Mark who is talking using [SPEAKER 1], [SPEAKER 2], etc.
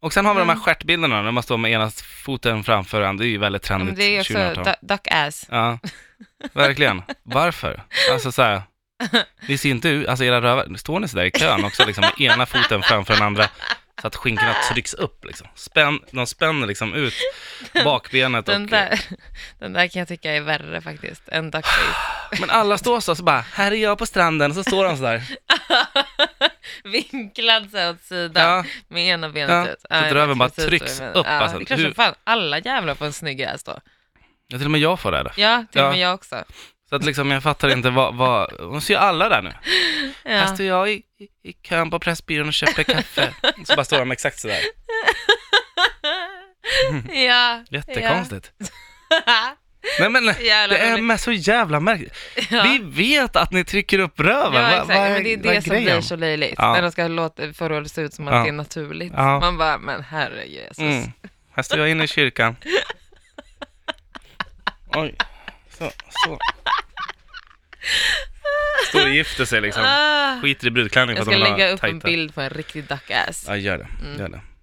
[SPEAKER 1] Och sen har vi de här
[SPEAKER 2] Mm.
[SPEAKER 1] stjärtbilderna när man står med ena foten framför andra. Det är ju väldigt
[SPEAKER 2] Ja, men
[SPEAKER 1] trendigt
[SPEAKER 2] det är ju alltså också
[SPEAKER 1] 2018.
[SPEAKER 2] du- duck ass.
[SPEAKER 1] Ja, verkligen. Varför? Alltså så här, ni ser inte ut, alltså era rövar, står ni så där i kön också liksom med ena foten framför den andra så att skinkorna trycks upp liksom. Spänn, de spänner liksom ut bakbenet
[SPEAKER 2] Den
[SPEAKER 1] och...
[SPEAKER 2] där, den där kan jag tycka är värre faktiskt än duckface.
[SPEAKER 1] Men alla står så, så bara, här är jag på stranden, så står de så där.
[SPEAKER 2] Vinklad så här åt sidan
[SPEAKER 1] Ja,
[SPEAKER 2] med ena benet
[SPEAKER 1] Ja,
[SPEAKER 2] ut.
[SPEAKER 1] så att
[SPEAKER 2] jag vet
[SPEAKER 1] röven bara
[SPEAKER 2] precis vad
[SPEAKER 1] trycks
[SPEAKER 2] du menar.
[SPEAKER 1] upp,
[SPEAKER 2] Ja,
[SPEAKER 1] alltså.
[SPEAKER 2] det är klart som
[SPEAKER 1] Hur-
[SPEAKER 2] fan alla jävlar får en snygg ass då.
[SPEAKER 1] till och med jag får det. Här.
[SPEAKER 2] Ja, till och
[SPEAKER 1] Ja.
[SPEAKER 2] med jag också.
[SPEAKER 1] Så att liksom jag fattar inte vad, vad, de ser ju alla där nu. Här
[SPEAKER 2] Ja.
[SPEAKER 1] står Alltså, jag i, i, i kön på Pressbyrån och köper kaffe. Så bara står de exakt sådär.
[SPEAKER 2] ja.
[SPEAKER 1] Jättekonstigt.
[SPEAKER 2] Ja.
[SPEAKER 1] Nej men,
[SPEAKER 2] Jävla
[SPEAKER 1] det är
[SPEAKER 2] roligt.
[SPEAKER 1] med så jävla märkligt.
[SPEAKER 2] Ja.
[SPEAKER 1] Vi vet att ni trycker upp röven.
[SPEAKER 2] Ja,
[SPEAKER 1] Vad-
[SPEAKER 2] exakt.
[SPEAKER 1] vad
[SPEAKER 2] men det är
[SPEAKER 1] vad
[SPEAKER 2] det som blir
[SPEAKER 1] grejen?
[SPEAKER 2] så löjligt.
[SPEAKER 1] Ja.
[SPEAKER 2] När de ska låta, få det att se ut som att
[SPEAKER 1] Ja.
[SPEAKER 2] det är naturligt.
[SPEAKER 1] Ja.
[SPEAKER 2] Man bara, men herre Jesus.
[SPEAKER 1] Mm. Här står jag inne i kyrkan. Oj. Så, så. Står och gifter sig liksom.
[SPEAKER 2] Ah.
[SPEAKER 1] Skiter i brudklänning för
[SPEAKER 2] Jag
[SPEAKER 1] att
[SPEAKER 2] ska
[SPEAKER 1] de vill ha
[SPEAKER 2] lägga upp en
[SPEAKER 1] tajta.
[SPEAKER 2] bild på en riktig duck ass.
[SPEAKER 1] Ja, gör det. Gör det.